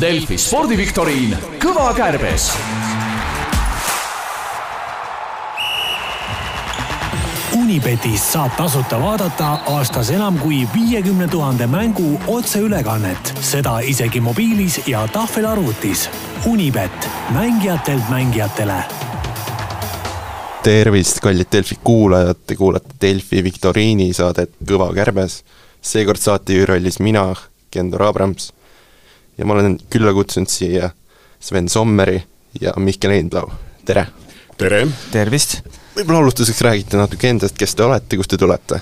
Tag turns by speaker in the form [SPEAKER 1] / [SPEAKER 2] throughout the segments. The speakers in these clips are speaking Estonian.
[SPEAKER 1] Delfi spordiviktoriin Kõva kärbes .
[SPEAKER 2] Unibetis saab tasuta vaadata aastas enam kui viiekümne tuhande mängu otseülekannet , seda isegi mobiilis ja tahvelarvutis . Unibet , mängijatelt mängijatele .
[SPEAKER 3] tervist , kallid Delfi kuulajad , te kuulate Delfi viktoriini saadet Kõva kärbes . seekord saatejuhi rollis mina , Kendo Abrams . ja ma olen külla kutsunud siia Sven Sommeri ja Mihkel Eendlau , tere!
[SPEAKER 4] tere ,
[SPEAKER 5] tervist
[SPEAKER 3] võib-olla alustuseks räägite natuke endast , kes te olete , kust te tulete ?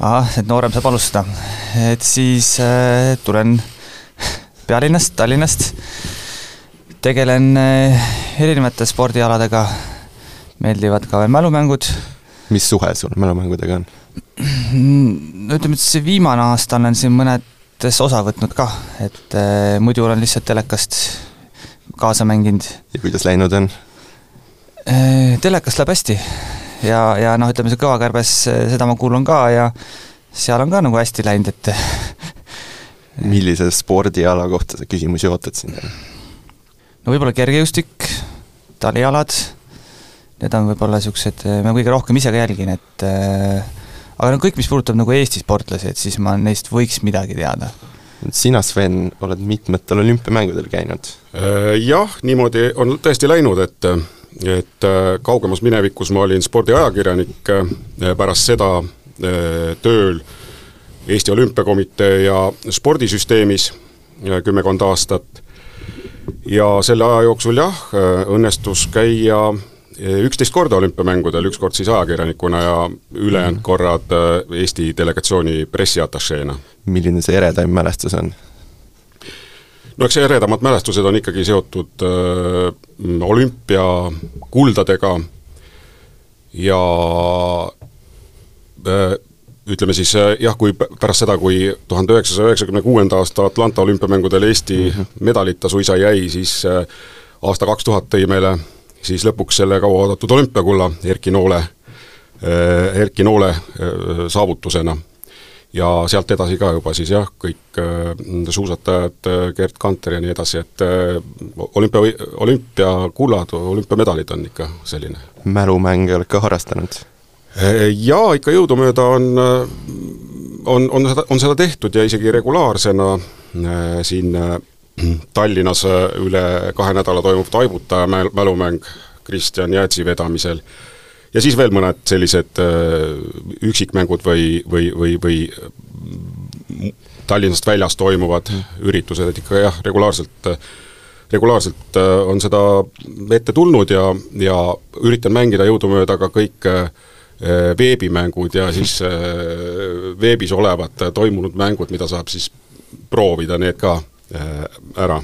[SPEAKER 5] ahah , et noorem saab alustada . et siis äh, tulen pealinnast , Tallinnast , tegelen äh, erinevate spordialadega , meeldivad ka mälumängud ,
[SPEAKER 3] mis suhe sul mälumängudega on ?
[SPEAKER 5] no Mm, ütleme , et see viimane aasta olen siin mõnedes osa võtnud ka , et äh, muidu olen lihtsalt telekast kaasa mänginud .
[SPEAKER 3] ja kuidas läinud on ?
[SPEAKER 5] telekas läheb hästi ja , ja noh , ütleme see kõvakärbes , seda ma kuulan ka ja seal on ka nagu hästi läinud , et
[SPEAKER 3] millise spordiala kohta sa küsimusi ootad siin ?
[SPEAKER 5] no võib-olla kergejõustik , talialad , need on võib-olla niisugused , ma kõige rohkem ise ka jälgin , et äh, aga no kõik , mis puudutab nagu Eesti sportlasi , et siis ma neist võiks midagi teada .
[SPEAKER 3] sina , Sven , oled mitmetel olümpiamängudel käinud
[SPEAKER 4] Äh, jah , niimoodi on tõesti läinud , et , et äh, kaugemas minevikus ma olin spordiajakirjanik , pärast seda äh, tööl Eesti Olümpiakomitee ja spordisüsteemis äh, kümmekond aastat . ja selle aja jooksul jah , õnnestus käia äh, üksteist korda olümpiamängudel , üks kord siis ajakirjanikuna ja ülejäänud korrad äh, Eesti delegatsiooni pressiatašeena
[SPEAKER 3] milline see eredaim mälestus on ?
[SPEAKER 4] no eks eredamad mälestused on ikkagi seotud äh, öö, olümpiakuldadega ja öö, ütleme siis öö, jah , kui p- pärast seda , kui tuhande üheksasaja üheksakümne kuuenda aasta Atlanta olümpiamängudel Eesti mm -hmm. medalita suisa jäi , siis öö, aasta kaks tuhat tõi meile siis lõpuks selle kauaoodatud olümpiakulla Erki Noole , Erki Noole öö, saavutusena ja sealt edasi ka juba siis jah , kõik äh, suusatajad , Gerd Kanter ja nii edasi , et äh, olümpia , olümpiakullad , olümpiamedalid on ikka selline .
[SPEAKER 3] mälumänge oled ka harrastanud ?
[SPEAKER 4] ja ikka jõudumööda on , on , on seda , on seda tehtud ja isegi regulaarsena äh, siin äh, Tallinnas äh, üle kahe nädala toimub Taibutaja mäl- mälumäng Kristjan Jäätsi vedamisel ja siis veel mõned sellised äh, üksikmängud või , või , või , või äh, Tallinnast väljas toimuvad üritused , et ikka jah , regulaarselt , äh, regulaarselt äh, on seda ette tulnud ja , ja üritan mängida jõudumööda ka kõik äh, veebimängud ja siis äh, veebis olevad äh, toimunud mängud , mida saab siis proovida need ka äh, ära ,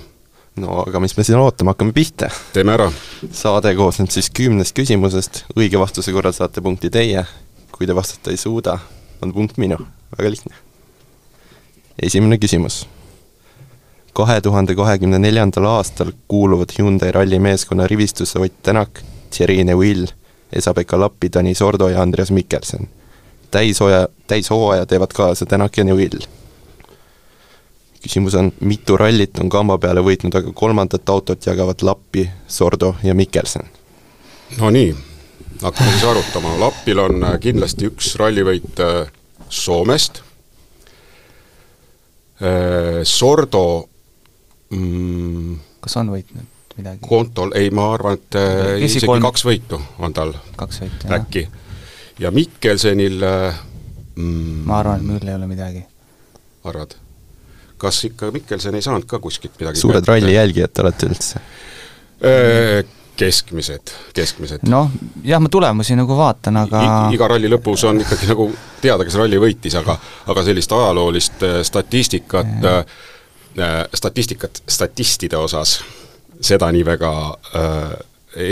[SPEAKER 3] no aga mis me siin ootame , hakkame pihta .
[SPEAKER 4] teeme ära .
[SPEAKER 3] saade koosneb siis kümnest küsimusest , õige vastuse korral saate punkti teie , kui te vastata ei suuda , on punkt minu , väga lihtne . esimene küsimus . kahe tuhande kahekümne neljandal aastal kuuluvad Hyundai rallimeeskonna rivistusse Ott Tänak , Thierry Neuvill , Esa-Pekka Lappi , Tõnis Ordo ja Andreas Mikkelson . täishooaja , täishooaja teevad kaasa Tänak ja Neuvill . küsimus on , mitu rallit on kamba peale võitnud aga kolmandat autot jagavad Lappi , Sordo ja Mikkelson ?
[SPEAKER 4] Nonii , hakkame siis arutama , Lapil on äh, kindlasti üks rallivõit äh, Soomest . Sordo mm,
[SPEAKER 5] kas on võitnud midagi ?
[SPEAKER 4] kontol , ei , ma arvan , et äh,
[SPEAKER 5] Esi-
[SPEAKER 4] isegi
[SPEAKER 5] kolm-
[SPEAKER 4] kaks võitu on tal
[SPEAKER 5] kaks võitu , jah .
[SPEAKER 4] äkki ja Mikkelsenil äh, mm,
[SPEAKER 5] ma arvan , et mul ei ole midagi .
[SPEAKER 4] arvad ? kas ikka Mikkelson ei saanud ka kuskilt midagi
[SPEAKER 3] suured ralli jälgijad olete üldse ?
[SPEAKER 4] jälgijad ? Äh, keskmised , keskmised no, .
[SPEAKER 5] noh , jah , ma tulemusi nagu vaatan , aga
[SPEAKER 4] iga ralli lõpus on ikkagi nagu teada , kes ralli võitis , aga , aga sellist ajaloolist äh, statistikat , statistikat statistide osas , seda nii väga äh,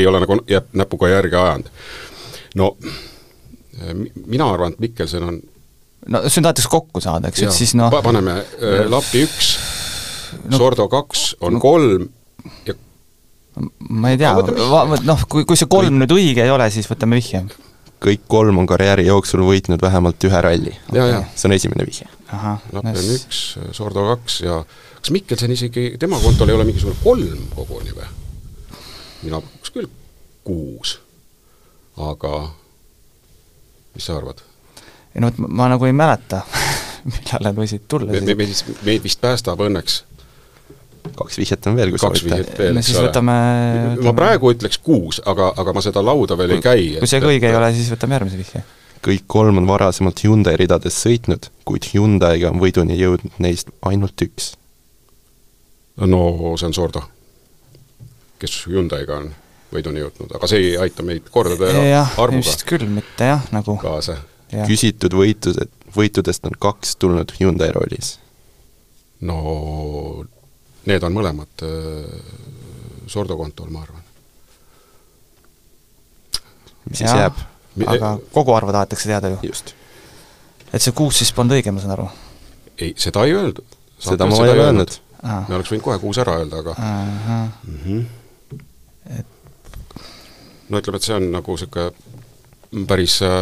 [SPEAKER 4] ei ole nagu jääb näpuga järge ajanud . no äh, mi- mina arvan , et Mikkelson on
[SPEAKER 5] no see on tahetakse kokku saada , eks ju ,
[SPEAKER 4] Jaa.
[SPEAKER 5] et siis noh
[SPEAKER 4] Pa- , paneme äh, Lapi üks no, ,
[SPEAKER 5] No-
[SPEAKER 4] Sordo kaks , on no, kolm ja
[SPEAKER 5] ma ei tea
[SPEAKER 4] Aga , võtame-
[SPEAKER 5] noh , kui , kui see kolm nüüd õige ei ole , siis võtame vihje .
[SPEAKER 3] kõik kolm on karjääri jooksul võitnud vähemalt ühe ralli .
[SPEAKER 4] ja , ja
[SPEAKER 3] see on esimene vihje .
[SPEAKER 5] ahah ,
[SPEAKER 4] Lappen üks , Sordo kaks ja kas Mikkelson isegi , tema kontol ei ole mingisugune kolm koguni või ? mina pakuks küll kuus . aga mis sa arvad ?
[SPEAKER 5] ei no vot , ma nagu ei mäleta , millal need võisid tulla
[SPEAKER 4] me , me ,
[SPEAKER 5] siis .
[SPEAKER 4] meid , meid vist päästab õnneks
[SPEAKER 3] kaks vihjet on veel , kui
[SPEAKER 4] kaks
[SPEAKER 3] soovite .
[SPEAKER 4] vihjet veel ,
[SPEAKER 5] no siis võtame Äh,
[SPEAKER 4] ma praegu ütleks kuus , aga , aga ma seda lauda veel ei käi .
[SPEAKER 5] kui see ka õige ei ole , siis võtame järgmise vihje .
[SPEAKER 3] kõik kolm on varasemalt Hyundai ridades sõitnud , kuid Hyundai'ga on võiduni jõudnud neist ainult üks .
[SPEAKER 4] no see on Sordo , kes Hyundai'ga on võiduni jõudnud , aga see ei aita meid kordade
[SPEAKER 5] jah ,
[SPEAKER 4] Äh, arvuga
[SPEAKER 5] ilmselt küll mitte jah , nagu
[SPEAKER 4] kaasa .
[SPEAKER 5] jah.
[SPEAKER 3] küsitud võitused , võitudest on kaks tulnud Hyundai rollis .
[SPEAKER 4] no need on mõlemad äh, Sordo kontol , ma arvan .
[SPEAKER 3] mis siis
[SPEAKER 5] Jah.
[SPEAKER 3] jääb ?
[SPEAKER 4] Mi- eh,
[SPEAKER 5] aga koguarvu tahetakse teada ju .
[SPEAKER 3] just .
[SPEAKER 5] et see kuus siis polnud õige , ma saan aru .
[SPEAKER 4] ei , seda ei öeldud .
[SPEAKER 3] seda ma ei öelnud .
[SPEAKER 4] me oleks võinud kohe kuus ära öelda , aga no ütleme , et see on nagu niisugune päris äh,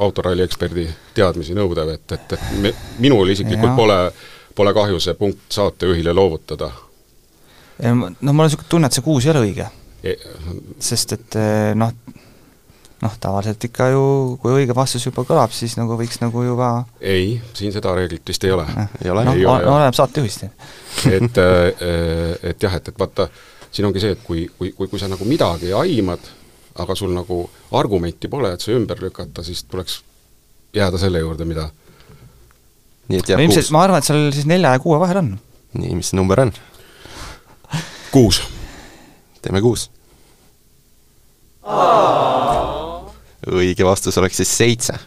[SPEAKER 4] autoralli eksperdi teadmisi nõudev , et , et , et me, minul isiklikult
[SPEAKER 5] Jah.
[SPEAKER 4] pole , pole kahju see punkt saatejuhile loovutada .
[SPEAKER 5] no noh, mul on niisugune tunne , et see kuus ei ole õige ,
[SPEAKER 4] E,
[SPEAKER 5] sest et eh, noh , noh tavaliselt ikka ju , kui õige vastus juba kõlab , siis nagu võiks nagu juba
[SPEAKER 4] ei , siin seda reeglit vist ei ole .
[SPEAKER 3] ei ole
[SPEAKER 5] noh ,
[SPEAKER 3] no, ,
[SPEAKER 4] ei ole, jah.
[SPEAKER 5] oleneb saatejuhist .
[SPEAKER 4] et , et jah , et , et vaata , siin ongi see , et kui , kui , kui , kui sa nagu midagi aimad , aga sul nagu argumenti pole , et see ümber lükata , siis tuleks jääda selle juurde , mida
[SPEAKER 3] nii et jääb
[SPEAKER 5] ilmselt
[SPEAKER 3] kuus .
[SPEAKER 5] ma arvan , et seal siis nelja ja kuue vahel on .
[SPEAKER 3] nii , mis see number on ?
[SPEAKER 4] kuus .
[SPEAKER 3] teeme kuus . õige vastus oleks siis seitse .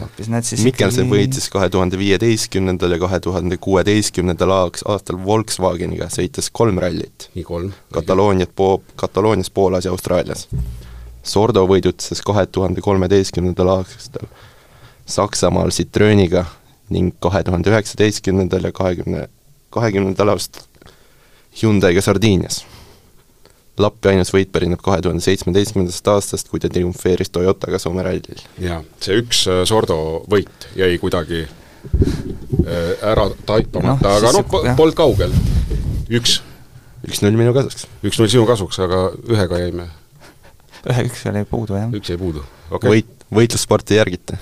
[SPEAKER 5] hoopis näed siis
[SPEAKER 3] Mikkelson võitis kahe tuhande viieteistkümnendal ja kahe tuhande kuueteistkümnendal aastal Volkswageniga , sõites kolm rallit .
[SPEAKER 4] nii kolm .
[SPEAKER 3] Katalooniat po- , Kataloonias , Poolas ja Austraalias . Sordo võidutas kahe tuhande kolmeteistkümnendal aastal Saksamaal Citrooniga ning kahe tuhande üheksateistkümnendal ja kahekümne , kahekümnendal aastal Hyundai'ga Sardiinias . Lappi ainus võit pärineb kahe tuhande seitsmeteistkümnendast aastast , kui ta triumfeeris Toyotaga Soome rallil .
[SPEAKER 4] jaa , see üks äh, Sordo võit jäi kuidagi äh, ära taipamata
[SPEAKER 5] Noh,
[SPEAKER 4] no, , aga
[SPEAKER 5] siis
[SPEAKER 4] noh
[SPEAKER 5] jah. ,
[SPEAKER 4] polnud kaugel . üks ,
[SPEAKER 3] üks-null minu kasuks .
[SPEAKER 4] üks-null sinu kasuks , aga ühega jäime ,
[SPEAKER 5] ühe , üks oli puudu jah .
[SPEAKER 4] üks jäi puudu . okei okay. ,
[SPEAKER 3] võit , võitlussporti järgite .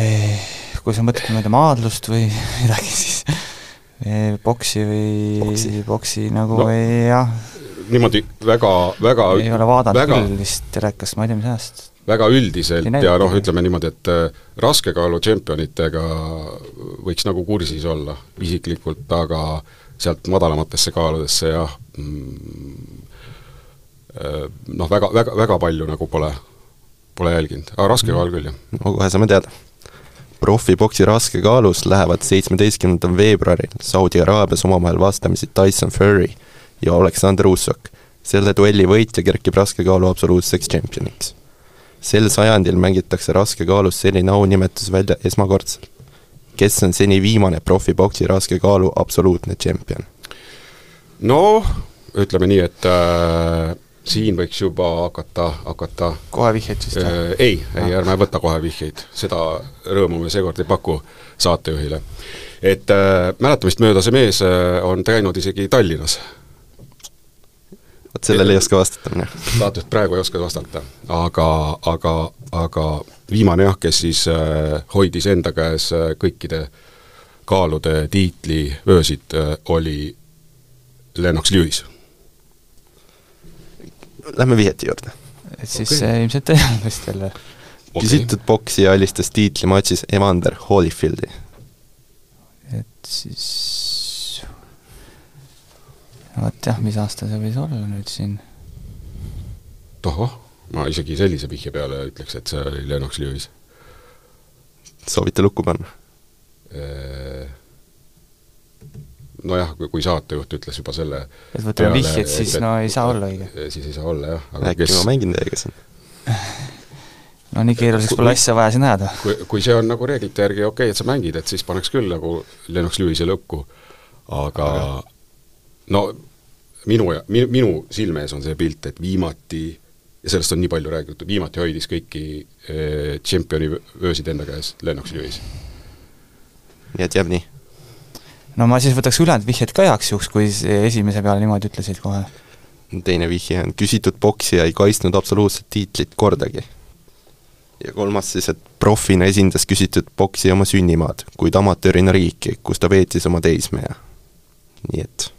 [SPEAKER 5] Eh, kui sa mõtled , ma ei tea , maadlust või midagi , siis eh, boksi või
[SPEAKER 3] Boksi.
[SPEAKER 5] boksi, boksi nagu
[SPEAKER 4] No.
[SPEAKER 5] no. ei jah ,
[SPEAKER 4] niimoodi väga , väga
[SPEAKER 5] ei ole vaadanud
[SPEAKER 4] väga,
[SPEAKER 5] küll vist telekast , ma ei tea , mis ajast .
[SPEAKER 4] väga üldiselt
[SPEAKER 5] Ei näidata.
[SPEAKER 4] ja noh , ütleme niimoodi , et äh, raskekaalu tšempionitega võiks nagu kursis olla isiklikult , aga sealt madalamatesse kaaludesse jah mm, , noh , väga , väga , väga palju nagu pole , pole jälginud , aga raskekaal küll , jah .
[SPEAKER 3] no kohe saame teada . profiboksi raskekaalus lähevad seitsmeteistkümnendal veebruaril Saudi Araabias omavahel vastamisi Tyson Fury ja Aleksander Ussok . selle duelli võitja kerkib raskekaalu absoluutseks tšempioniks . sel sajandil mängitakse raskekaalus selline aunimetus välja esmakordselt . kes on seni viimane profiboksi raskekaalu absoluutne tšempion ?
[SPEAKER 4] noh , ütleme nii , et äh, siin võiks juba hakata , hakata
[SPEAKER 5] kohe vihjed siis äh, ?
[SPEAKER 4] äh, ei , ei , ärme võta kohe vihjeid , seda rõõmu me seekord ei paku saatejuhile . et äh, mäletamist mööda see mees äh, on käinud isegi Tallinnas ,
[SPEAKER 3] vot sellele ei oska vastata mina .
[SPEAKER 4] saates praegu ei oska vastata , aga , aga , aga viimane jah , kes siis äh, hoidis enda käes äh, kõikide kaalude tiitlivöösid äh, , oli Lennox Lewis .
[SPEAKER 3] Lähme vihjeti juurde .
[SPEAKER 5] et siis
[SPEAKER 4] okei.
[SPEAKER 5] okay. ilmselt ei olnud vist jälle .
[SPEAKER 3] küsitud poksija alistas tiitlimatšis Evander Holyfieldi .
[SPEAKER 5] et siis vot jah , mis aasta see võis olla nüüd siin ?
[SPEAKER 4] tohoh , ma isegi sellise vihje peale ütleks , et see oli Lennox Lewis .
[SPEAKER 3] soovite lukku panna ?
[SPEAKER 4] Äh, nojah , kui , kui saatejuht ütles juba selle
[SPEAKER 5] et võtame vihjed , siis no ei saa olla õige ..
[SPEAKER 4] Äh, siis ei saa olla jah , aga
[SPEAKER 3] äkki
[SPEAKER 4] Äkki
[SPEAKER 3] ma
[SPEAKER 4] kes ,
[SPEAKER 3] mängin teiega siin ?
[SPEAKER 5] no nii keeruliseks
[SPEAKER 4] Kui-
[SPEAKER 5] pole asja vaja siin ajada .
[SPEAKER 4] kui , kui see on nagu reeglite järgi okei okay, , et sa mängid , et siis paneks küll nagu Lennox Lewis'e lõppu , aga no minu , minu silme ees on see pilt , et viimati ja sellest on nii palju räägitud, viimati hoidis kõiki eh, tšempioni öösid enda käes Lennoxi juhis.
[SPEAKER 3] nii et jääb nii.
[SPEAKER 5] no ma siis võtaks ülejäänud vihjed ka heaks juhuks, kui see esimese peale niimoodi ütlesid kohe.
[SPEAKER 3] teine vihje on küsitud poksija ei kaitsnud absoluutset tiitlit kordagi. ja kolmas siis, et profina esindas küsitud poksija oma sünnimaad, kuid amatöörina riiki, kus ta veetis oma teismeja. nii et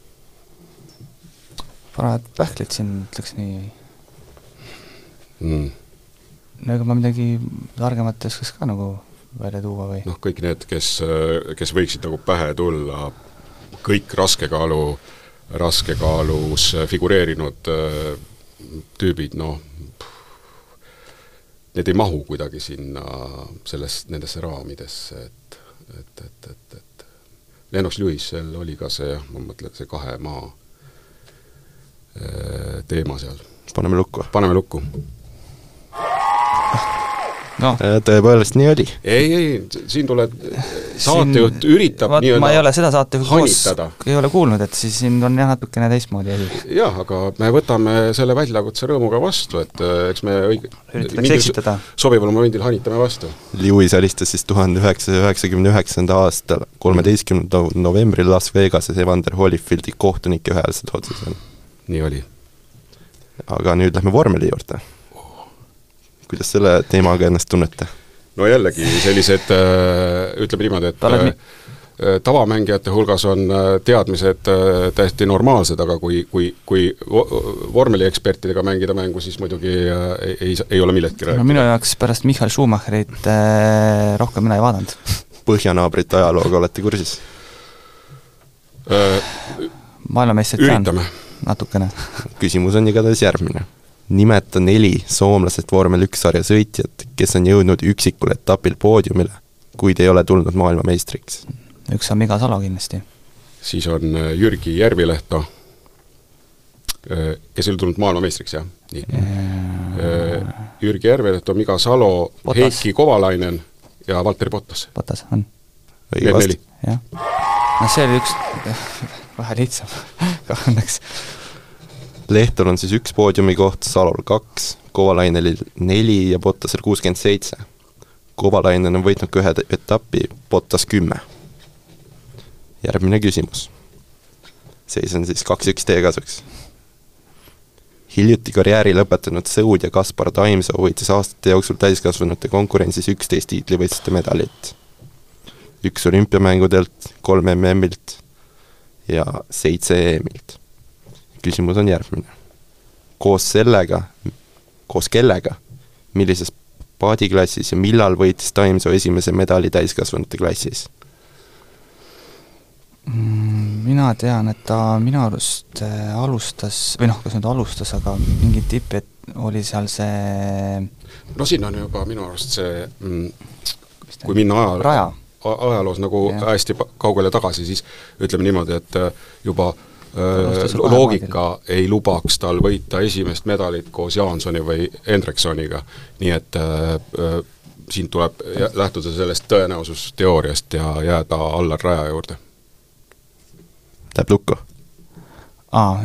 [SPEAKER 5] parajad pähklid siin , ütleks nii .
[SPEAKER 4] mm.
[SPEAKER 5] no ega ma midagi targemat ei oskaks ka nagu välja tuua või ?
[SPEAKER 4] noh , kõik need , kes , kes võiksid nagu pähe tulla , kõik raskekaalu , raskekaalus figureerinud äh, tüübid , noh , need ei mahu kuidagi sinna selles , nendesse raamidesse , et , et , et , et , et Lennox Lewisel oli ka see , ma mõtlen , see kahe maa äh, teema seal .
[SPEAKER 3] paneme lukku .
[SPEAKER 4] paneme lukku
[SPEAKER 5] noh ,
[SPEAKER 3] Äh, tõepoolest nii oli .
[SPEAKER 4] ei , ei , siin tuleb , saatejuht üritab
[SPEAKER 5] vaat ma ei ole seda saatejuht koos
[SPEAKER 4] hanitada. ,
[SPEAKER 5] ei ole kuulnud , et siis siin on jah , natukene teistmoodi asi .
[SPEAKER 4] jah , aga me võtame selle väljakutse rõõmuga vastu , et äh, eks me õige
[SPEAKER 5] Üritatakse
[SPEAKER 4] mingil
[SPEAKER 5] eksitada.
[SPEAKER 4] sobival momendil hanitame vastu .
[SPEAKER 3] Lewis alistas siis tuhande üheksasaja üheksakümne üheksanda aasta kolmeteistkümnendal novembril Las Vegases Evander Holyfieldi kohtunike ühehäälsel otsusel .
[SPEAKER 4] nii oli .
[SPEAKER 3] aga nüüd lähme vormeli juurde . kuidas selle teemaga ennast tunnete ?
[SPEAKER 4] no jällegi sellised , ütleme niimoodi , et
[SPEAKER 5] Ta läheb
[SPEAKER 4] äh, tavamängijate hulgas on äh, teadmised äh, täiesti normaalsed , aga kui , kui , kui vo- vormeliekspertidega mängida mängu , siis muidugi äh, ei, ei , ei ole millestki
[SPEAKER 5] no
[SPEAKER 4] rääkida .
[SPEAKER 5] minu jaoks pärast Michal Schumacherit äh, rohkem mina ei vaadanud .
[SPEAKER 3] põhjanaabrite ajalooga olete kursis ?
[SPEAKER 4] Äh,
[SPEAKER 5] maailmameistrit
[SPEAKER 4] üritame .
[SPEAKER 5] natukene .
[SPEAKER 3] küsimus on igatahes järgmine . nimeta neli soomlasest vormel üks sarja sõitjat , kes on jõudnud üksikul etapil poodiumile , kuid ei ole tulnud maailmameistriks .
[SPEAKER 5] üks on Miga Salo kindlasti .
[SPEAKER 4] siis on äh, Jürgi Järvilehto , kes ei ole tulnud maailmameistriks , jah ? nii . Jürgi Järvelehto , Miga Salo ,
[SPEAKER 5] Potas.
[SPEAKER 4] Heiki Kovalainen ja Valteri Pottas .
[SPEAKER 5] Potas on ,
[SPEAKER 3] õige
[SPEAKER 4] Need
[SPEAKER 3] vastus
[SPEAKER 4] neli ..
[SPEAKER 5] jah . noh , see oli üks vähe lihtsam kah õnneks .
[SPEAKER 3] Lehtol on siis üks poodiumi koht , Salol kaks , Kovalainelil neli ja Pottasel kuuskümmend seitse . Kovalainen on võitnud ka ühe te- etapi , Pottas kümme . järgmine küsimus . seis on siis kaks-üks teie kasuks . hiljuti karjääri lõpetanud Sõud ja Kaspar Taimsoo võitis aastate jooksul täiskasvanute konkurentsis üksteist tiitlivõistluste medalit . üks olümpiamängudelt , kolm MM-ilt ja seitse E EM-ilt küsimus on järgmine . koos sellega , koos kellega , millises paadiklassis ja millal võitis Taimsoo esimese medali täiskasvanute klassis ?
[SPEAKER 5] mina tean , et ta minu arust äh, alustas , või noh , kas nüüd alustas , aga mingi tipp , et oli seal see
[SPEAKER 4] no siin on juba minu arust see mm, ,
[SPEAKER 5] mis ta
[SPEAKER 4] kui minna ajal-
[SPEAKER 5] Raja. ,
[SPEAKER 4] ajaloos nagu
[SPEAKER 5] Jah.
[SPEAKER 4] ja. hästi pa- kaugele tagasi , siis ütleme niimoodi , et äh, juba äh,
[SPEAKER 5] alustas
[SPEAKER 4] lo-
[SPEAKER 5] vahemaadil.
[SPEAKER 4] loogika ei lubaks tal võita esimest medalit koos Jaansoni või Hendriksoniga , nii et äh, äh, siin tuleb jä- lähtuda sellest tõenäosusteooriast ja jääda Allar Raja juurde .
[SPEAKER 3] Läheb lukku .
[SPEAKER 5] aa ,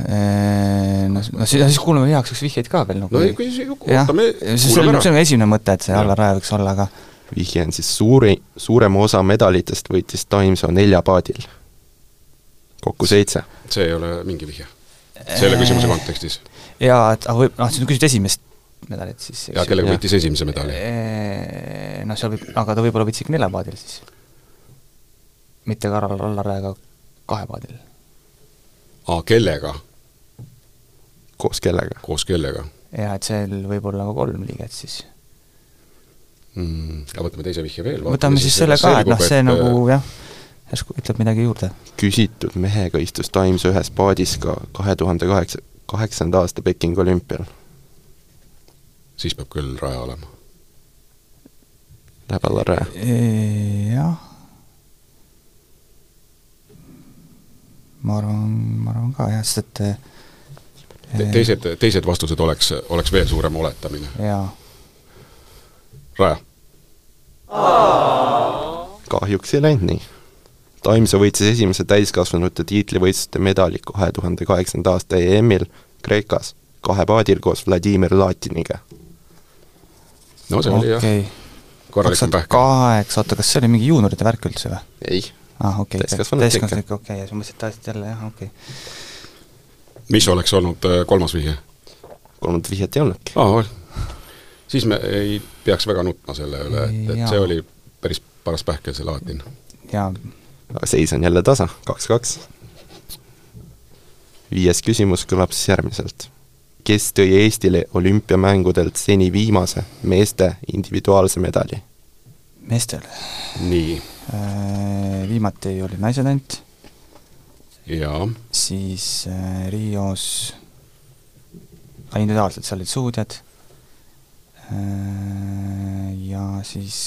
[SPEAKER 5] no, s- no siis , siis kuulame heaks üks vihjeid ka veel nagu
[SPEAKER 4] no ei , kui siis
[SPEAKER 5] jah ,
[SPEAKER 4] ootame ,
[SPEAKER 5] see
[SPEAKER 4] kuulame
[SPEAKER 5] on , see
[SPEAKER 4] ära .
[SPEAKER 5] on esimene mõte , et see Allar Rae võiks olla , aga
[SPEAKER 3] vihje on siis suuri , suurema osa medalitest võitis Taimsoo nelja paadil . kokku seitse .
[SPEAKER 4] see ei ole mingi vihje selle küsimuse kontekstis .
[SPEAKER 5] jaa , et aga võib , noh , siis küsid esimest medalit siis .
[SPEAKER 4] ja kellega
[SPEAKER 3] Jah.
[SPEAKER 4] võitis esimese medali ?
[SPEAKER 5] noh , seal võib , aga ta võib-olla võitis ikka neljapaadil siis . mitte ka Allar , Allar Raega kahepaadil .
[SPEAKER 4] aa , kellega ,
[SPEAKER 3] koos kellega ?
[SPEAKER 4] koos kellega
[SPEAKER 5] ja et seal võib olla ka kolm liiget siis .
[SPEAKER 4] mm. ? aga võtame teise vihje veel .
[SPEAKER 5] võtame siis selle ka , et noh , see
[SPEAKER 4] äh,
[SPEAKER 5] nagu jah , järsku ütleb midagi juurde .
[SPEAKER 3] küsitud mehega istus Taimsoo ühes paadis ka kahe tuhande kaheksa , kaheksanda aasta Pekingi olümpial .
[SPEAKER 4] siis peab küll raja olema .
[SPEAKER 3] Läheb alla raja .
[SPEAKER 5] jah . ma arvan , ma arvan ka jah , sest et äh, eh,
[SPEAKER 4] teised , teised vastused oleks , oleks veel suurem oletamine .
[SPEAKER 5] jaa ,
[SPEAKER 4] raja ,
[SPEAKER 3] kahjuks ei läinud nii . Taimsoo võitis esimese täiskasvanute tiitlivõistluste medali kahe tuhande kaheksanda aasta EM-il E Kreekas kahepaadil koos Vladimir Latiniga .
[SPEAKER 4] no see oli jah ,
[SPEAKER 5] okei , kaks
[SPEAKER 4] korralikum
[SPEAKER 5] tuhat
[SPEAKER 4] pähk .
[SPEAKER 5] kaheksa , oota , kas see oli mingi juunioride värk üldse või ?
[SPEAKER 3] ei ,
[SPEAKER 5] ah , okei ,
[SPEAKER 3] Täiskasvanute ikka.
[SPEAKER 5] täiskasvanulik , okei , ja siis mõtlesin , et tahtsid jälle jah , okei .
[SPEAKER 4] mis oleks olnud äh, kolmas vihje
[SPEAKER 3] kolmandat vihjet ei olnudki .
[SPEAKER 4] aa , siis me ei peaks väga nutma selle üle , et , et see
[SPEAKER 5] Jaa.
[SPEAKER 4] oli päris paras pähkel , see laatin .
[SPEAKER 5] jaa ,
[SPEAKER 3] aga seis on jälle tasa , kaks-kaks . viies küsimus kõlab siis järgmiselt . kes tõi Eestile olümpiamängudelt seni viimase meeste individuaalse medali ?
[SPEAKER 5] meestel
[SPEAKER 4] nii ,
[SPEAKER 5] äh, viimati oli naised ainult ,
[SPEAKER 4] jaa ,
[SPEAKER 5] siis äh, Rios , individuaalselt seal olid suudjad äh, ja siis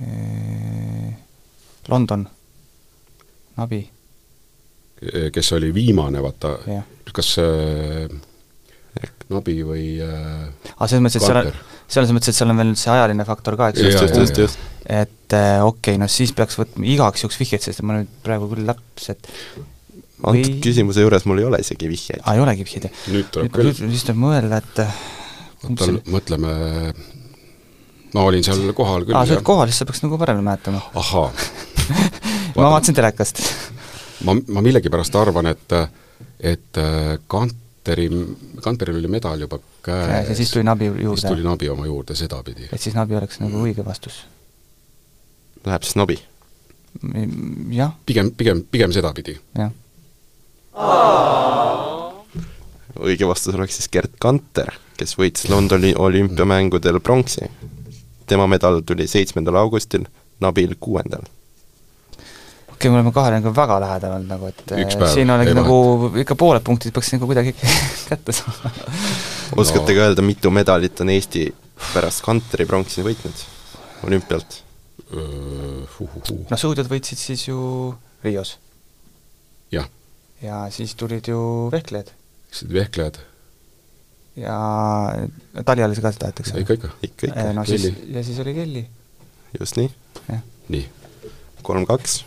[SPEAKER 5] äh, London , Nabi ,
[SPEAKER 4] kes oli viimane , vaata ,
[SPEAKER 5] jah .
[SPEAKER 4] kas äh, Nabi või äh,
[SPEAKER 5] aga selles mõttes , et seal on
[SPEAKER 4] Carter. ,
[SPEAKER 5] selles mõttes , et seal on veel nüüd see ajaline faktor ka , eks
[SPEAKER 4] Jaa, jaa,
[SPEAKER 5] ju ,
[SPEAKER 4] jaa.
[SPEAKER 3] just .
[SPEAKER 5] et äh, okei okay, , no siis peaks võtma igaks juhuks vihjeid , sest ma nüüd praegu küll täpselt ,
[SPEAKER 3] antud
[SPEAKER 5] Või-
[SPEAKER 3] küsimuse juures mul ei ole isegi vihjeid .
[SPEAKER 5] aa ei olegi vihjeid ,
[SPEAKER 4] nüüd tuleb
[SPEAKER 5] nüüd nüüd
[SPEAKER 4] küll ,
[SPEAKER 5] vist tuleb mõelda , et äh, kumb
[SPEAKER 4] oota
[SPEAKER 5] see ,
[SPEAKER 4] mõtleme , ma olin seal kohal küll
[SPEAKER 5] aa , sa oled kohal , siis sa peaks nagu paremini mäletama .
[SPEAKER 4] ahhaa ,
[SPEAKER 5] ma vaatasin telekast .
[SPEAKER 4] ma , ma millegipärast arvan , et , et äh, Kanteri , Kanteril oli medal juba käes
[SPEAKER 5] ja siis tuli nabi
[SPEAKER 4] Äh, siis tuli
[SPEAKER 5] juurde .
[SPEAKER 4] Nabi oma juurde sedapidi .
[SPEAKER 5] et siis nabi oleks nagu õige vastus .
[SPEAKER 3] Läheb siis nobi .
[SPEAKER 5] jah ,
[SPEAKER 4] pigem , pigem , pigem sedapidi
[SPEAKER 5] jah ,
[SPEAKER 3] õige vastus oleks siis Gerd Kanter , kes võitis Londoni olümpiamängudel pronksi . tema medal tuli seitsmendal augustil , nabil kuuendal .
[SPEAKER 5] okei okay, , me oleme kahele nagu väga lähedal olnud nagu , et äh,
[SPEAKER 4] Üks päev,
[SPEAKER 5] siin oleks
[SPEAKER 4] ei
[SPEAKER 5] nagu ikka pooled punktid peaks nagu kuidagi kätte saama .
[SPEAKER 3] oskate ka öelda , mitu medalit on Eesti pärast Kanteri pronksi võitnud olümpialt ?
[SPEAKER 4] uh, .
[SPEAKER 5] no suudjad võitsid siis ju Rios
[SPEAKER 4] jah ,
[SPEAKER 5] ja siis tulid ju vehklejad
[SPEAKER 4] siis vehklejad ,
[SPEAKER 5] ja tali oli see ka seda , et eks Äh,
[SPEAKER 4] ikka , ikka ,
[SPEAKER 3] ikka , ikka ,
[SPEAKER 5] no siis
[SPEAKER 4] Kelly.
[SPEAKER 5] ja siis oli Kelly ,
[SPEAKER 3] just nii ,
[SPEAKER 5] jah .
[SPEAKER 4] nii .
[SPEAKER 3] kolm-kaks .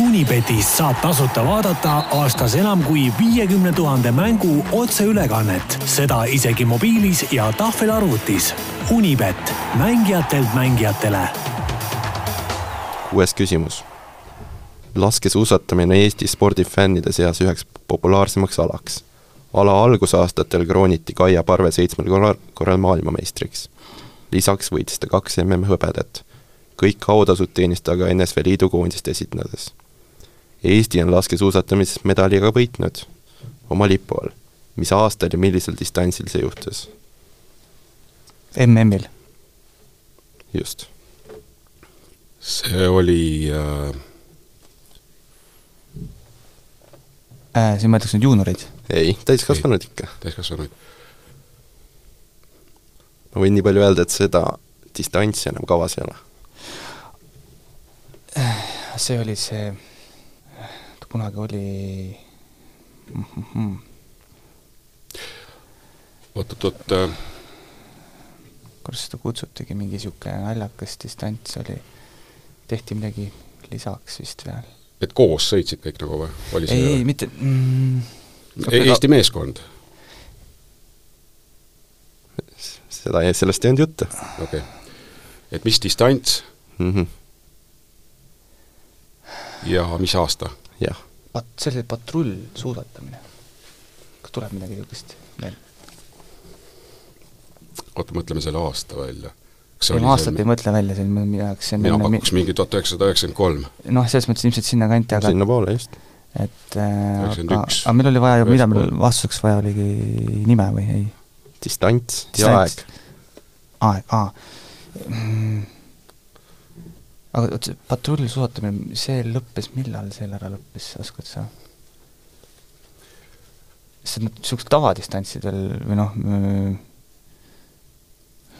[SPEAKER 2] Unibetis saab tasuta vaadata aastas enam kui viiekümne tuhande mängu otseülekannet , seda isegi mobiilis ja tahvelarvutis . Unibet , mängijatelt mängijatele
[SPEAKER 3] kuues küsimus . laskesuusatamine Eesti spordifännide seas üheks populaarsemaks alaks . ala algusaastatel krooniti Kaia Parve seitsmel korral , korral maailmameistriks . lisaks võitis ta kaks mm hõbedat . kõik autasud teenis ta ka NSV Liidu koondist esindades . Eesti on laskesuusatamises medali ka võitnud oma lipu all . mis aastal ja millisel distantsil see juhtus ?
[SPEAKER 5] MM-il ,
[SPEAKER 3] just .
[SPEAKER 4] see oli äh, ,
[SPEAKER 5] Äh, siin ma ütleks nüüd juunurid ,
[SPEAKER 3] ei , täiskasvanud ikka
[SPEAKER 4] täiskasvanuid ,
[SPEAKER 3] ma võin nii palju öelda , et seda distantsi enam kavas ei ole .
[SPEAKER 5] see oli see , kunagi oli Mhm.
[SPEAKER 4] oot-oot-oot äh, ,
[SPEAKER 5] kuidas seda kutsutigi , mingi niisugune naljakas distants oli , tehti midagi lisaks vist veel .
[SPEAKER 4] et koos sõitsid kõik nagu või ? oli
[SPEAKER 5] ei , ei
[SPEAKER 4] see
[SPEAKER 5] mitte mm,
[SPEAKER 4] e Eesti meeskond ?
[SPEAKER 3] seda , sellest ei olnud juttu
[SPEAKER 4] okei okay. . et mis distants
[SPEAKER 3] mm . -hmm.
[SPEAKER 4] ja mis aasta ?
[SPEAKER 3] jah ,
[SPEAKER 5] pat- , see oli patrullsuusatamine . kas tuleb midagi niisugust veel ?
[SPEAKER 4] oota , mõtleme selle aasta välja .
[SPEAKER 5] ei , ma aastat ei mõtle välja , see on minu jaoks , see on
[SPEAKER 4] mina
[SPEAKER 5] jälle mi-
[SPEAKER 4] pakuks mingi tuhat üheksasada üheksakümmend kolm .
[SPEAKER 5] noh , selles mõttes ilmselt sinnakanti , aga
[SPEAKER 3] sinnapoole just .
[SPEAKER 5] et äh, aga,
[SPEAKER 4] 91.
[SPEAKER 5] aga meil oli vaja ju , mida meil
[SPEAKER 4] Ühespool.
[SPEAKER 5] vastuseks vaja oligi nime või ei ?
[SPEAKER 3] distants ja
[SPEAKER 5] Distants.
[SPEAKER 3] aeg .
[SPEAKER 5] aeg , aa . aga vot see patrullsuusatamine , see lõppes , millal see ära lõppes , oskad sa ? sest nad niisugused tavadistantsidel või noh ,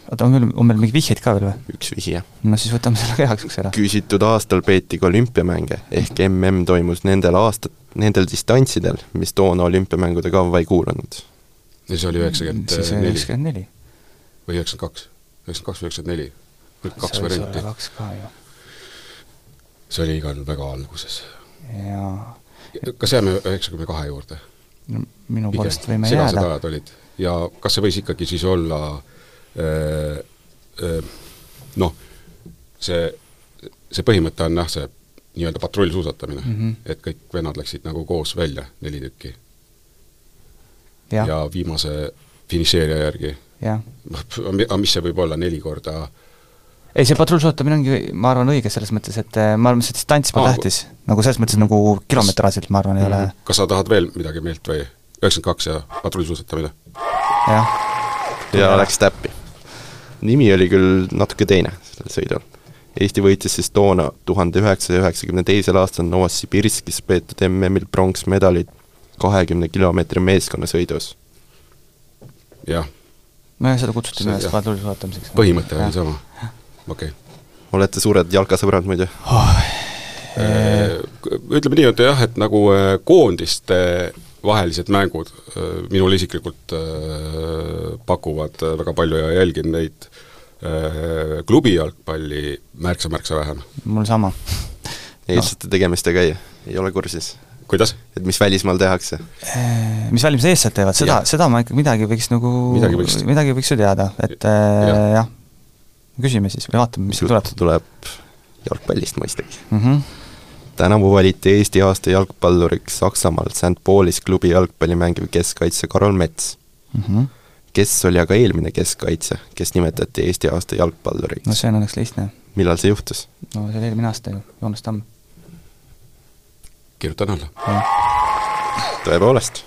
[SPEAKER 5] oota , on meil , on meil mingeid vihjeid ka veel või ?
[SPEAKER 3] üks vihje .
[SPEAKER 5] no siis võtame selle ka heaks , eks ära .
[SPEAKER 3] küsitud aastal peeti ka olümpiamänge ehk mm toimus nendel aastat- , nendel distantsidel , mis toona olümpiamängude kavva ei kuulunud .
[SPEAKER 4] ja see oli üheksakümmend
[SPEAKER 5] Mm, siis oli
[SPEAKER 4] neli
[SPEAKER 5] üheksakümmend neli .
[SPEAKER 4] või üheksakümmend kaks , üheksakümmend kaks või üheksakümmend neli . kaks varianti .
[SPEAKER 5] kaks ka ju .
[SPEAKER 4] see oli igal väga alguses .
[SPEAKER 5] jaa .
[SPEAKER 4] kas jääme üheksakümne kahe juurde?
[SPEAKER 5] minu poolest võime
[SPEAKER 4] segased
[SPEAKER 5] jääda .
[SPEAKER 4] ajad olid ja kas see võis ikkagi siis olla öö, öö, noh , see , see põhimõte on jah , see nii-öelda patrullsuusatamine mm ,
[SPEAKER 5] Mhm.
[SPEAKER 4] -hmm. et kõik vennad läksid nagu koos välja , neli tükki ja,
[SPEAKER 5] jah ,
[SPEAKER 4] ja viimase finišeerija järgi ,
[SPEAKER 5] jah .
[SPEAKER 4] aga mis see võib olla , neli korda ,
[SPEAKER 5] ei , see patrullsuusatamine ongi , ma arvan , õige selles mõttes , et eh, ma arvan , see distants pole
[SPEAKER 4] Aa,
[SPEAKER 5] tähtis . nagu selles mõttes nagu kilometraažilt , ma arvan , ei ole ,
[SPEAKER 4] kas sa tahad veel midagi meelt või ? üheksakümmend kaks ja patrullsuusatamine . Mhm.
[SPEAKER 5] jah .
[SPEAKER 3] ja läks täppi . nimi oli küll natuke teine sellel sõidul . Eesti võitis siis toona tuhande üheksasaja üheksakümne teisel aastal Novosibirskis peetud MM-il pronksmedalid kahekümne kilomeetri meeskonnasõidus .
[SPEAKER 4] jah ,
[SPEAKER 5] nojah , seda kutsuti
[SPEAKER 4] See-
[SPEAKER 5] minu arust
[SPEAKER 4] jah.
[SPEAKER 5] patrullsuusatamiseks .
[SPEAKER 4] põhimõte oli sama . okei
[SPEAKER 3] olete suured jalkasõbrad muidu ?
[SPEAKER 4] okay. . ütleme nii , et jah , et nagu eh, koondiste äh, vahelised mängud eh, minule isiklikult eh, pakuvad eh, väga palju ja jälgin neid eh, klubi jalgpalli märksa-märksa vähem .
[SPEAKER 5] mul sama . Noh.
[SPEAKER 3] eestlaste tegemistega ei , ei ole kursis ?
[SPEAKER 4] kuidas ?
[SPEAKER 3] et mis välismaal tehakse ?
[SPEAKER 5] Äh, mis valimised eestlased teevad , seda ,
[SPEAKER 3] Jah.
[SPEAKER 5] seda ma ikka midagi võiks nagu ,
[SPEAKER 4] Midagi võiks-
[SPEAKER 5] midagi võiks ju teada , et eh,
[SPEAKER 4] Jah.
[SPEAKER 5] jah . küsime siis või vaatame , mis tuleb
[SPEAKER 3] jutt . tuleb jalgpallist mõistagi .
[SPEAKER 5] mm . -hmm.
[SPEAKER 3] tänavu valiti Eesti aasta jalgpalluriks Saksamaalt St Paulis klubi jalgpalli mängiv keskkaitsja Karol Mets ,
[SPEAKER 5] Mm -hmm.
[SPEAKER 3] kes oli aga eelmine keskkaitsja , kes nimetati Eesti aasta
[SPEAKER 5] no
[SPEAKER 3] jalgpalluriks
[SPEAKER 5] see on õnneks lihtne .
[SPEAKER 3] millal see juhtus ?
[SPEAKER 5] no see oli eelmine aasta ju , Joonas Tamm .
[SPEAKER 4] kirjutan alla .
[SPEAKER 3] tõepoolest .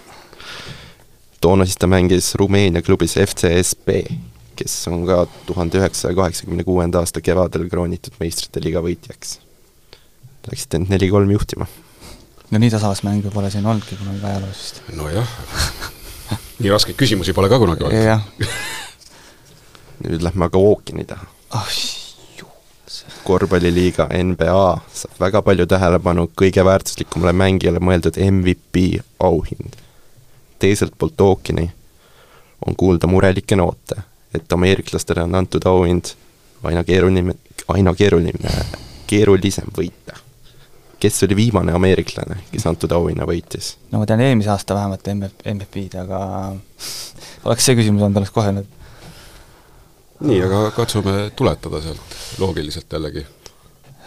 [SPEAKER 3] toona siis ta mängis Rumeenia klubis FCSB , kes on ka tuhande üheksasaja kaheksakümne kuuenda aasta kevadel kroonitud meistrite liiga võitjaks . Läksite nüüd neli-kolm juhtima .
[SPEAKER 5] no nii tasavas mängu pole siin olnudki kunagi ajaloos vist .
[SPEAKER 4] nojah , nii raskeid küsimusi pole ka kunagi olnud .
[SPEAKER 5] jah .
[SPEAKER 3] nüüd lähme aga ookeani taha .
[SPEAKER 5] ah ,
[SPEAKER 3] korvpalliliiga NBA saab väga palju tähelepanu kõige väärtuslikumale mängijale mõeldud MVP auhind . teiselt poolt ookeani on kuulda murelikke noote , et ameeriklastele on antud auhind aina keeruline , aina keeruline , keerulisem võita . kes oli viimane ameeriklane , kes antud auhinna võitis ?
[SPEAKER 5] no ma tean eelmise aasta vähemalt MF , MFP-d , aga oleks see küsimus olnud , oleks kohe nüüd .
[SPEAKER 4] nii , aga katsume tuletada sealt loogiliselt jällegi .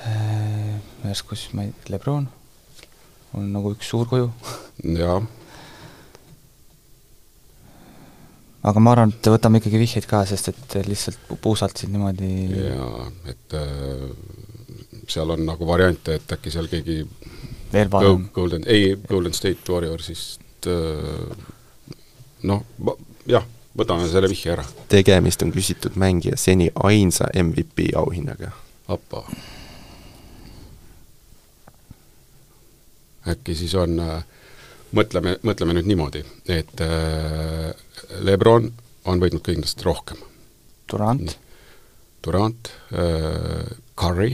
[SPEAKER 5] Äh, järsku siis ma ei , Lebron on nagu üks suur kuju ,
[SPEAKER 4] jaa ,
[SPEAKER 5] aga ma arvan , et võtame ikkagi vihjeid ka , sest et lihtsalt pu- puusalt siin niimoodi yeah.
[SPEAKER 4] jaa , et äh, seal on nagu variante , et äkki seal keegi
[SPEAKER 5] veel
[SPEAKER 4] Go,
[SPEAKER 5] parem .
[SPEAKER 4] Golden , ei , Golden State Warriorsist äh, noh , jah , võtame selle vihje ära .
[SPEAKER 3] tegemist on küsitud mängija seni ainsa MVP auhinnaga .
[SPEAKER 4] Appa . äkki siis on äh, , mõtleme , mõtleme nüüd niimoodi , et äh, Lebron on võitnud kindlasti rohkem .
[SPEAKER 5] Durant ,
[SPEAKER 4] Durant äh, , Curry ,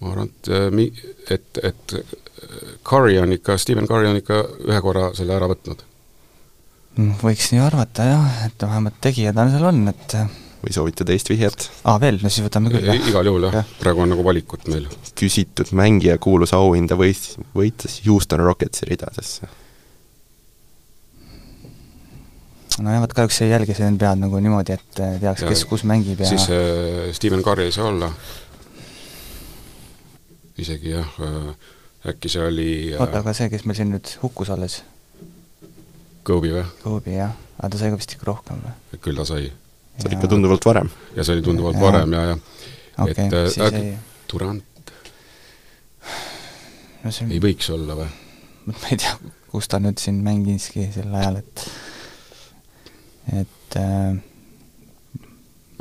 [SPEAKER 4] ma arvan , et äh, mi- , et , et eh, Curry on ikka , Stephen Curry on ikka ühe korra selle ära võtnud .
[SPEAKER 5] Mm, võiks nii arvata jah , et vähemalt tegijad on seal on , et äh,
[SPEAKER 3] või soovite teist vihjet ?
[SPEAKER 5] aa , veel , no siis võtame küll jah .
[SPEAKER 4] igal juhul jah
[SPEAKER 5] Jah. ,
[SPEAKER 4] praegu on nagu valikut meil .
[SPEAKER 3] küsitud mängija kuulus auhinda võis , võitis Houston Rocketsi ridadesse .
[SPEAKER 5] nojah , vot kahjuks ei jälgi see NBA-d nagu niimoodi , et eh, teaks ,
[SPEAKER 4] Jaa.
[SPEAKER 5] kes kus mängib ja
[SPEAKER 4] siis äh, Stephen Curry ei saa olla . isegi jah äh, , äkki see oli
[SPEAKER 5] oota ,
[SPEAKER 4] äh,
[SPEAKER 5] aga see , kes meil siin nüüd hukkus alles ,
[SPEAKER 4] Kobe või ?
[SPEAKER 5] Kobe jah , aga ta sai ka vist ikka rohkem või ?
[SPEAKER 4] küll ta sai .
[SPEAKER 3] see oli ikka tunduvalt varem .
[SPEAKER 4] ja see oli tunduvalt
[SPEAKER 5] Jaa.
[SPEAKER 4] varem ja , ja
[SPEAKER 5] okei
[SPEAKER 4] et, äh,
[SPEAKER 5] okay, , siis
[SPEAKER 4] äkki-
[SPEAKER 5] ei ,
[SPEAKER 4] Durant
[SPEAKER 5] no see
[SPEAKER 4] ei
[SPEAKER 5] on ,
[SPEAKER 4] võiks olla või ?
[SPEAKER 5] ma ei tea , kus ta nüüd siin mängiski sel ajal , et et äh,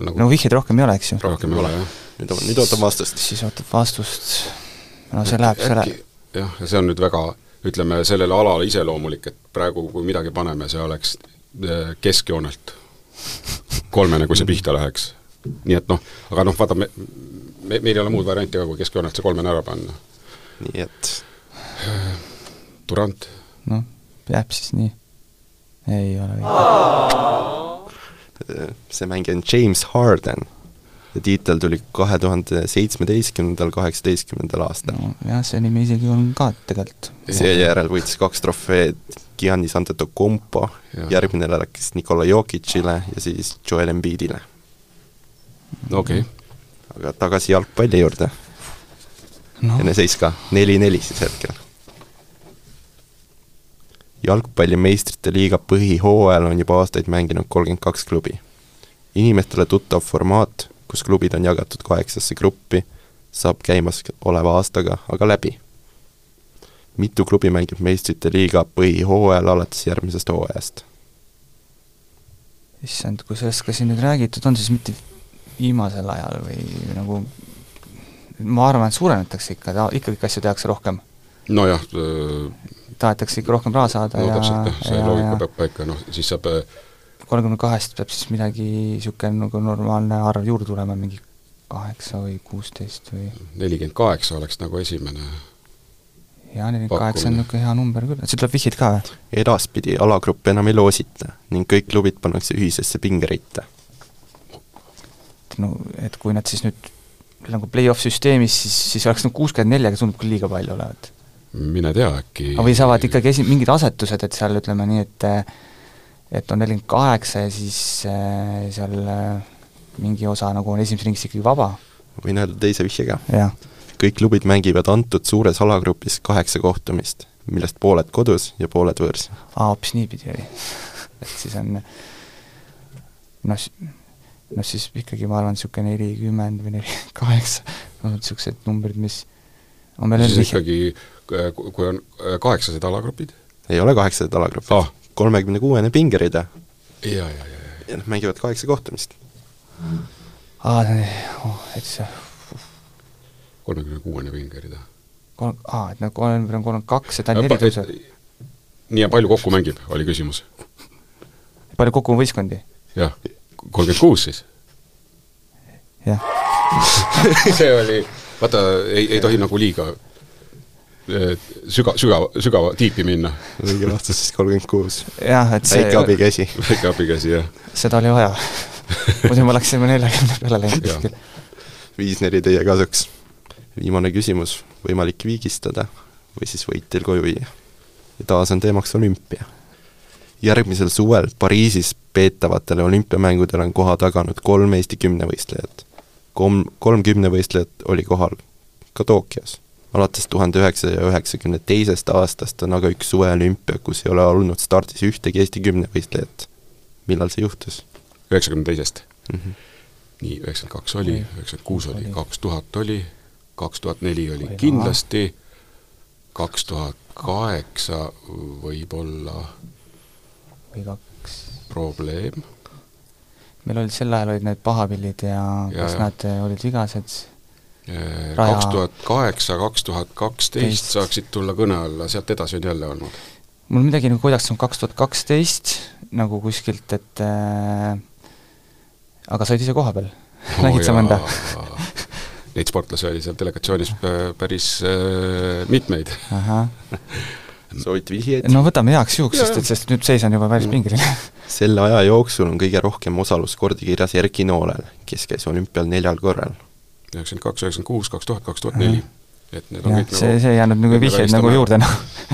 [SPEAKER 4] nagu
[SPEAKER 5] no vihjeid rohkem ei ole , eks ju .
[SPEAKER 4] rohkem ei ole jah .
[SPEAKER 3] nüüd , nüüd ootan vastust .
[SPEAKER 5] siis ootab vastust , no see läheb , see läheb ,
[SPEAKER 4] jah , ja see on nüüd väga , ütleme sellele alale iseloomulik , et praegu , kui midagi paneme , see oleks äh, keskjoonelt kolmene , kui see pihta läheks . nii et noh , aga noh , vaata me, me , meil ei ole muud varianti ka , kui keskjoonelt see kolmene ära panna .
[SPEAKER 3] nii et
[SPEAKER 4] Durant ,
[SPEAKER 5] noh , jääb siis nii . ei ole õige .
[SPEAKER 3] äh, see mängija on James Harden . ja tiitel tuli kahe tuhande seitsmeteistkümnendal, kaheksateistkümnendal aastal no. .
[SPEAKER 5] no jah , see nimi isegi on ka tegelikult .
[SPEAKER 3] seejärel võitis kaks trofeed Giannis Antetokounmpo
[SPEAKER 4] Jah. ,
[SPEAKER 3] järgmine läks Nikolai Jokicile ja siis Joel Embiidile .
[SPEAKER 4] okei okay. ,
[SPEAKER 3] aga tagasi jalgpalli juurde
[SPEAKER 5] noh ,
[SPEAKER 3] enne seis ka , neli-neli siis hetkel . jalgpalli meistrite liiga põhihooajal on juba aastaid mänginud kolmkümmend kaks klubi . inimestele tuttav formaat , kus klubid on jagatud kaheksasse gruppi , saab käimasoleva aastaga aga läbi . mitu klubi mängib meistrite liiga põhihooajal alates järgmisest hooajast ?
[SPEAKER 5] issand , kui sellest ka siin nüüd räägitud on , siis mitte viimasel ajal või nagu ma arvan , et suurendatakse ikka , ikka kõiki asju tehakse rohkem .
[SPEAKER 4] nojah ,
[SPEAKER 5] tahetakse ikka rohkem raha saada
[SPEAKER 4] no
[SPEAKER 5] ja ,
[SPEAKER 4] täpselt jah , see
[SPEAKER 5] ja,
[SPEAKER 4] loogika peab paika , noh siis saab äh,
[SPEAKER 5] ja kolmekümne kahest peab siis midagi niisugune nagu normaalne arv juurde tulema , mingi kaheksa või kuusteist või
[SPEAKER 4] nelikümmend kaheksa oleks nagu esimene .
[SPEAKER 5] jaa , nelikümmend kaheksa on
[SPEAKER 4] Pakkumine.
[SPEAKER 5] niisugune hea number küll , siit tuleb vihjeid ka või ?
[SPEAKER 3] edaspidi alagruppi enam ei loosita ning kõik klubid pannakse ühisesse pingeritta .
[SPEAKER 5] et no , et kui nad siis nüüd nagu play-off süsteemis , siis , siis oleks nagu kuuskümmend neli , aga tundub küll liiga palju olevat .
[SPEAKER 4] mine tea , äkki
[SPEAKER 5] aga või saavad ikkagi esi- , mingid asetused , et seal ütleme nii , et et on nelikümmend kaheksa ja siis äh, seal äh, mingi osa nagu on esimeses ringis ikkagi vaba ,
[SPEAKER 3] võin öelda teise vihje ka
[SPEAKER 5] jah .
[SPEAKER 3] kõik klubid mängivad antud suures alagrupis kaheksa kohtumist , millest pooled kodus ja pooled võõrs .
[SPEAKER 5] aa , hoopis niipidi oli . et siis on noh , noh siis ikkagi ma arvan , niisugune nelikümmend või nelikümmend kaheksa , on niisugused numbrid , mis on meil
[SPEAKER 4] siis ikkagi , kui on äh, kaheksased alagrupid
[SPEAKER 3] ei ole kaheksased
[SPEAKER 4] Ah.
[SPEAKER 3] alagrupid , kolmekümne kuuene pingerida
[SPEAKER 4] ja , ja , ja , ja
[SPEAKER 3] ja nad mängivad kaheksa kohtumist .
[SPEAKER 5] aa , oh, et see
[SPEAKER 4] kolmekümne kuuene pingerida .
[SPEAKER 5] kolm , aa , et nagu kolm , kolmkümmend kaks , et ainult neli tõuseb .
[SPEAKER 4] Äh, nii ja palju kokku mängib , oli küsimus .
[SPEAKER 5] palju kokku on võistkondi ?
[SPEAKER 4] jah , kolmkümmend kuus siis .
[SPEAKER 5] jah ,
[SPEAKER 4] see oli , vaata , ei , ei tohi nagu liiga äh, süga- , sügava , sügava tiipi minna .
[SPEAKER 3] õige vastus siis kolmkümmend kuus .
[SPEAKER 5] jah , et see
[SPEAKER 3] väike , abikäsi .
[SPEAKER 4] väike abikäsi , jah .
[SPEAKER 5] seda oli vaja . muidu me oleksime neljakümne peale läinud
[SPEAKER 4] Jah.
[SPEAKER 5] kuskil .
[SPEAKER 3] viis-neli teie kasuks . viimane küsimus , võimalik viigistada või siis võit teil koju viia ? ja taas on teemaks olümpia . järgmisel suvel Pariisis peetavatele olümpiamängudele on koha taganud kolm Eesti kümnevõistlejat . kolm , kolm kümnevõistlejat oli kohal ka Tokyos . alates tuhande üheksasaja üheksakümne teisest aastast on aga üks suveolümpia , kus ei ole olnud stardis ühtegi Eesti kümnevõistlejat . millal see juhtus
[SPEAKER 4] üheksakümne teisest .
[SPEAKER 3] mm ? -hmm.
[SPEAKER 4] nii , üheksakümmend kaks oli , üheksakümmend kuus oli , kaks tuhat oli , kaks tuhat neli oli
[SPEAKER 5] Oli
[SPEAKER 4] kindlasti , kaks tuhat kaheksa võib-olla
[SPEAKER 5] või kaks .
[SPEAKER 4] probleem ,
[SPEAKER 5] meil olid sel ajal olid need pahapillid ja,
[SPEAKER 4] Ja,
[SPEAKER 5] ja kas
[SPEAKER 4] ja.
[SPEAKER 5] ja. nad eh, olid vigased ? Raja-
[SPEAKER 4] Äh, kaks tuhat kaheksa , kaks tuhat kaksteist
[SPEAKER 5] Teist.
[SPEAKER 4] saaksid tulla kõne alla , sealt edasi on jälle olnud .
[SPEAKER 5] mul midagi nagu kuidagi on kaks tuhat kaksteist nagu kuskilt , et äh, aga said ise koha peal oh, ? nägid sa mõnda ??
[SPEAKER 4] Neid sportlasi oli seal delegatsioonis pä- päris äh, mitmeid .
[SPEAKER 5] ahah ,
[SPEAKER 3] soovite vihjeid ?
[SPEAKER 5] no võtame heaks juhuks ,
[SPEAKER 4] Jaa,
[SPEAKER 5] sest
[SPEAKER 4] jaa.
[SPEAKER 5] et , sest nüüd seisan juba päris
[SPEAKER 4] Mm.
[SPEAKER 5] pingil .
[SPEAKER 3] selle aja jooksul on kõige rohkem osalust kordikirjas Erki Noolel , kes käis olümpial neljal korral .
[SPEAKER 4] üheksakümmend kaks , üheksakümmend kuus , kaks tuhat , kaks tuhat neli . et need on
[SPEAKER 5] jah ,
[SPEAKER 4] kõik
[SPEAKER 5] see , see ei jäänud nagu
[SPEAKER 4] me
[SPEAKER 5] vihjeid
[SPEAKER 4] välistame-
[SPEAKER 5] nagu juurde noh ,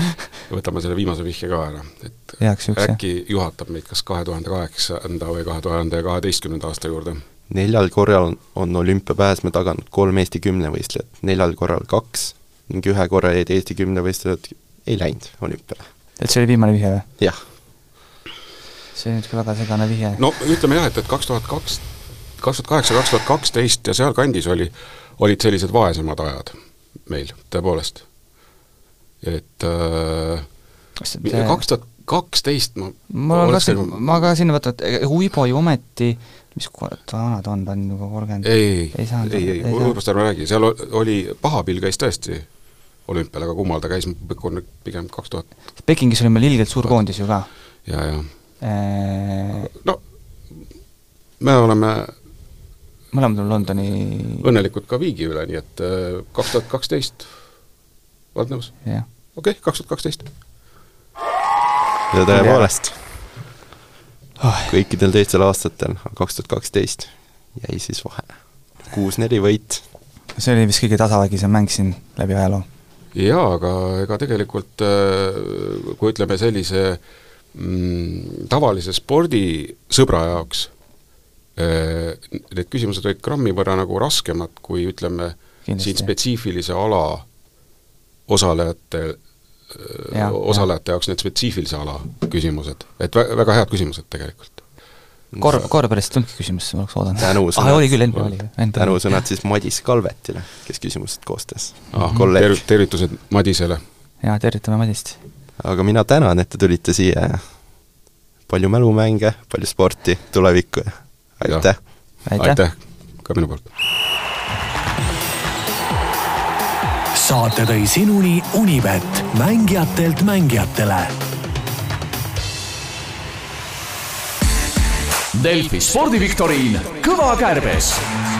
[SPEAKER 4] võtame selle viimase vihje ka ära , et
[SPEAKER 5] heaks juhuks jah .
[SPEAKER 4] äkki juhatab meid kas kahe tuhande kaheksanda või kahe tuhande kaheteistkümnenda aasta juurde .
[SPEAKER 3] neljal korral on- on olümpiapääsme taganud kolm Eesti kümnevõistlejat , neljal korral kaks ning ühe korra jäid Eesti kümnevõistlejad ei läinud olümpiale .
[SPEAKER 5] et see oli viimane vihje või ?
[SPEAKER 3] jah ,
[SPEAKER 5] see oli nüüd ka väga segane vihje no. .
[SPEAKER 4] no ütleme jah , et , et kaks tuhat kaks , kaks tuhat kaheksa , kaks tuhat kaksteist ja sealkandis oli , olid sellised vaesemad ajad meil tõepoolest . et äh,
[SPEAKER 5] kas äh, see
[SPEAKER 4] kaks tuhat kaksteist ma
[SPEAKER 5] ma olen ka
[SPEAKER 4] oleks
[SPEAKER 5] siin
[SPEAKER 4] nagu- ,
[SPEAKER 5] ma ka siin vaatan , et Uibo ju ometi , mis kurat vana ta on , ta on juba kolmkümmend
[SPEAKER 4] ei , ei ,
[SPEAKER 5] Ei
[SPEAKER 4] ei ,
[SPEAKER 5] saanud,
[SPEAKER 4] ei ,
[SPEAKER 5] ei
[SPEAKER 4] ei ,
[SPEAKER 5] saanud.
[SPEAKER 4] võib-olla ärme räägi , seal o- oli , pahapill käis tõesti olümpial , aga kummal ta käis , pigem kaks tuhat
[SPEAKER 5] Pekingis oli meil ilgelt suur koondis ju ka . Äh,
[SPEAKER 4] ja , ja
[SPEAKER 5] mõlemad
[SPEAKER 4] no me oleme
[SPEAKER 5] on Londoni
[SPEAKER 4] õnnelikud ka Viigi üle , nii et äh, kaks tuhat kaksteist , oled nõus ?
[SPEAKER 5] jah ,
[SPEAKER 4] okei okay, , kaks tuhat kaksteist .
[SPEAKER 3] ja tõepoolest . kõikidel teistel aastatel , kaks tuhat kaksteist jäi siis vahele . kuus-neli võit
[SPEAKER 5] see oli vist kõige tasavägisem mäng siin läbi ajaloo.
[SPEAKER 4] jaa, aga ega tegelikult äh, kui ütleme sellise mm, tavalise spordisõbra jaoks äh,, need küsimused olid grammi võrra nagu raskemad, kui ütleme,
[SPEAKER 5] Kindlasti.
[SPEAKER 4] siin spetsiifilise ala osalejate
[SPEAKER 5] Jah,
[SPEAKER 4] ja, osalejate jaoks need spetsiifilise ala küsimused, et vä- väga head küsimused tegelikult .
[SPEAKER 5] korv , korvpallist ei tulnudki küsimus , ma oleks oodanud .
[SPEAKER 3] Tänusõnad.
[SPEAKER 5] ah, oli küll , NBA oli .
[SPEAKER 3] tänusõnad siis Madis Kalvetile , kes küsimused koostas
[SPEAKER 5] Mhm.
[SPEAKER 4] ah, .
[SPEAKER 3] kolleeg
[SPEAKER 4] ter- ,, tervitused Madisele .
[SPEAKER 5] jaa , tervitame Madist .
[SPEAKER 3] aga mina tänan , et te tulite siia ja palju mälumänge , palju sporti , tulevikku ja aitäh !
[SPEAKER 5] aitäh !
[SPEAKER 4] ka minu poolt .
[SPEAKER 2] saate tõi sinuni Unibet , mängijatelt mängijatele
[SPEAKER 1] Delfi spordiviktoriin Kõva kärbes